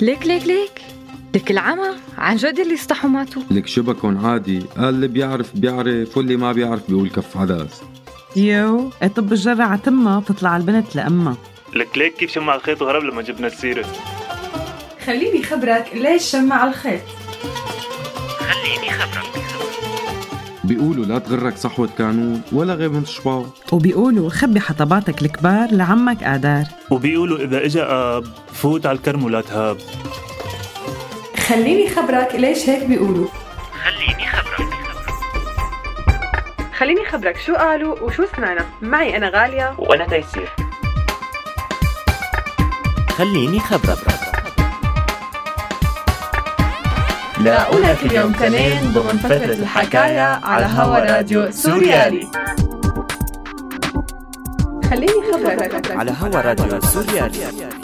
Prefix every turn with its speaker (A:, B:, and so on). A: ليك ليك ليك لك العمى عن جد اللي استحوا ماتوا
B: لك شبكهم عادي قال اللي بيعرف بيعرف واللي ما بيعرف بيقول كف عدس
C: يو طب الجرة على تمها بتطلع البنت لأمها
D: لك ليك كيف شمع الخيط وهرب لما جبنا السيرة
E: خليني خبرك ليش شمع الخيط
B: بيقولوا لا تغرك صحوة كانون ولا غيبة شباب
C: وبيقولوا خبي حطباتك الكبار لعمك قادار
D: وبيقولوا إذا إجا آب فوت على الكرم ولا تهاب
E: خليني خبرك ليش هيك بيقولوا
F: خليني خبرك شو قالوا وشو سمعنا معي أنا غالية
G: وأنا تيسير خليني خبرك لا
F: أقولك اليوم تنين ضمن فترة الحكاية على هوا راديو سوريالي خليني خبرك
G: على هوا راديو سوريالي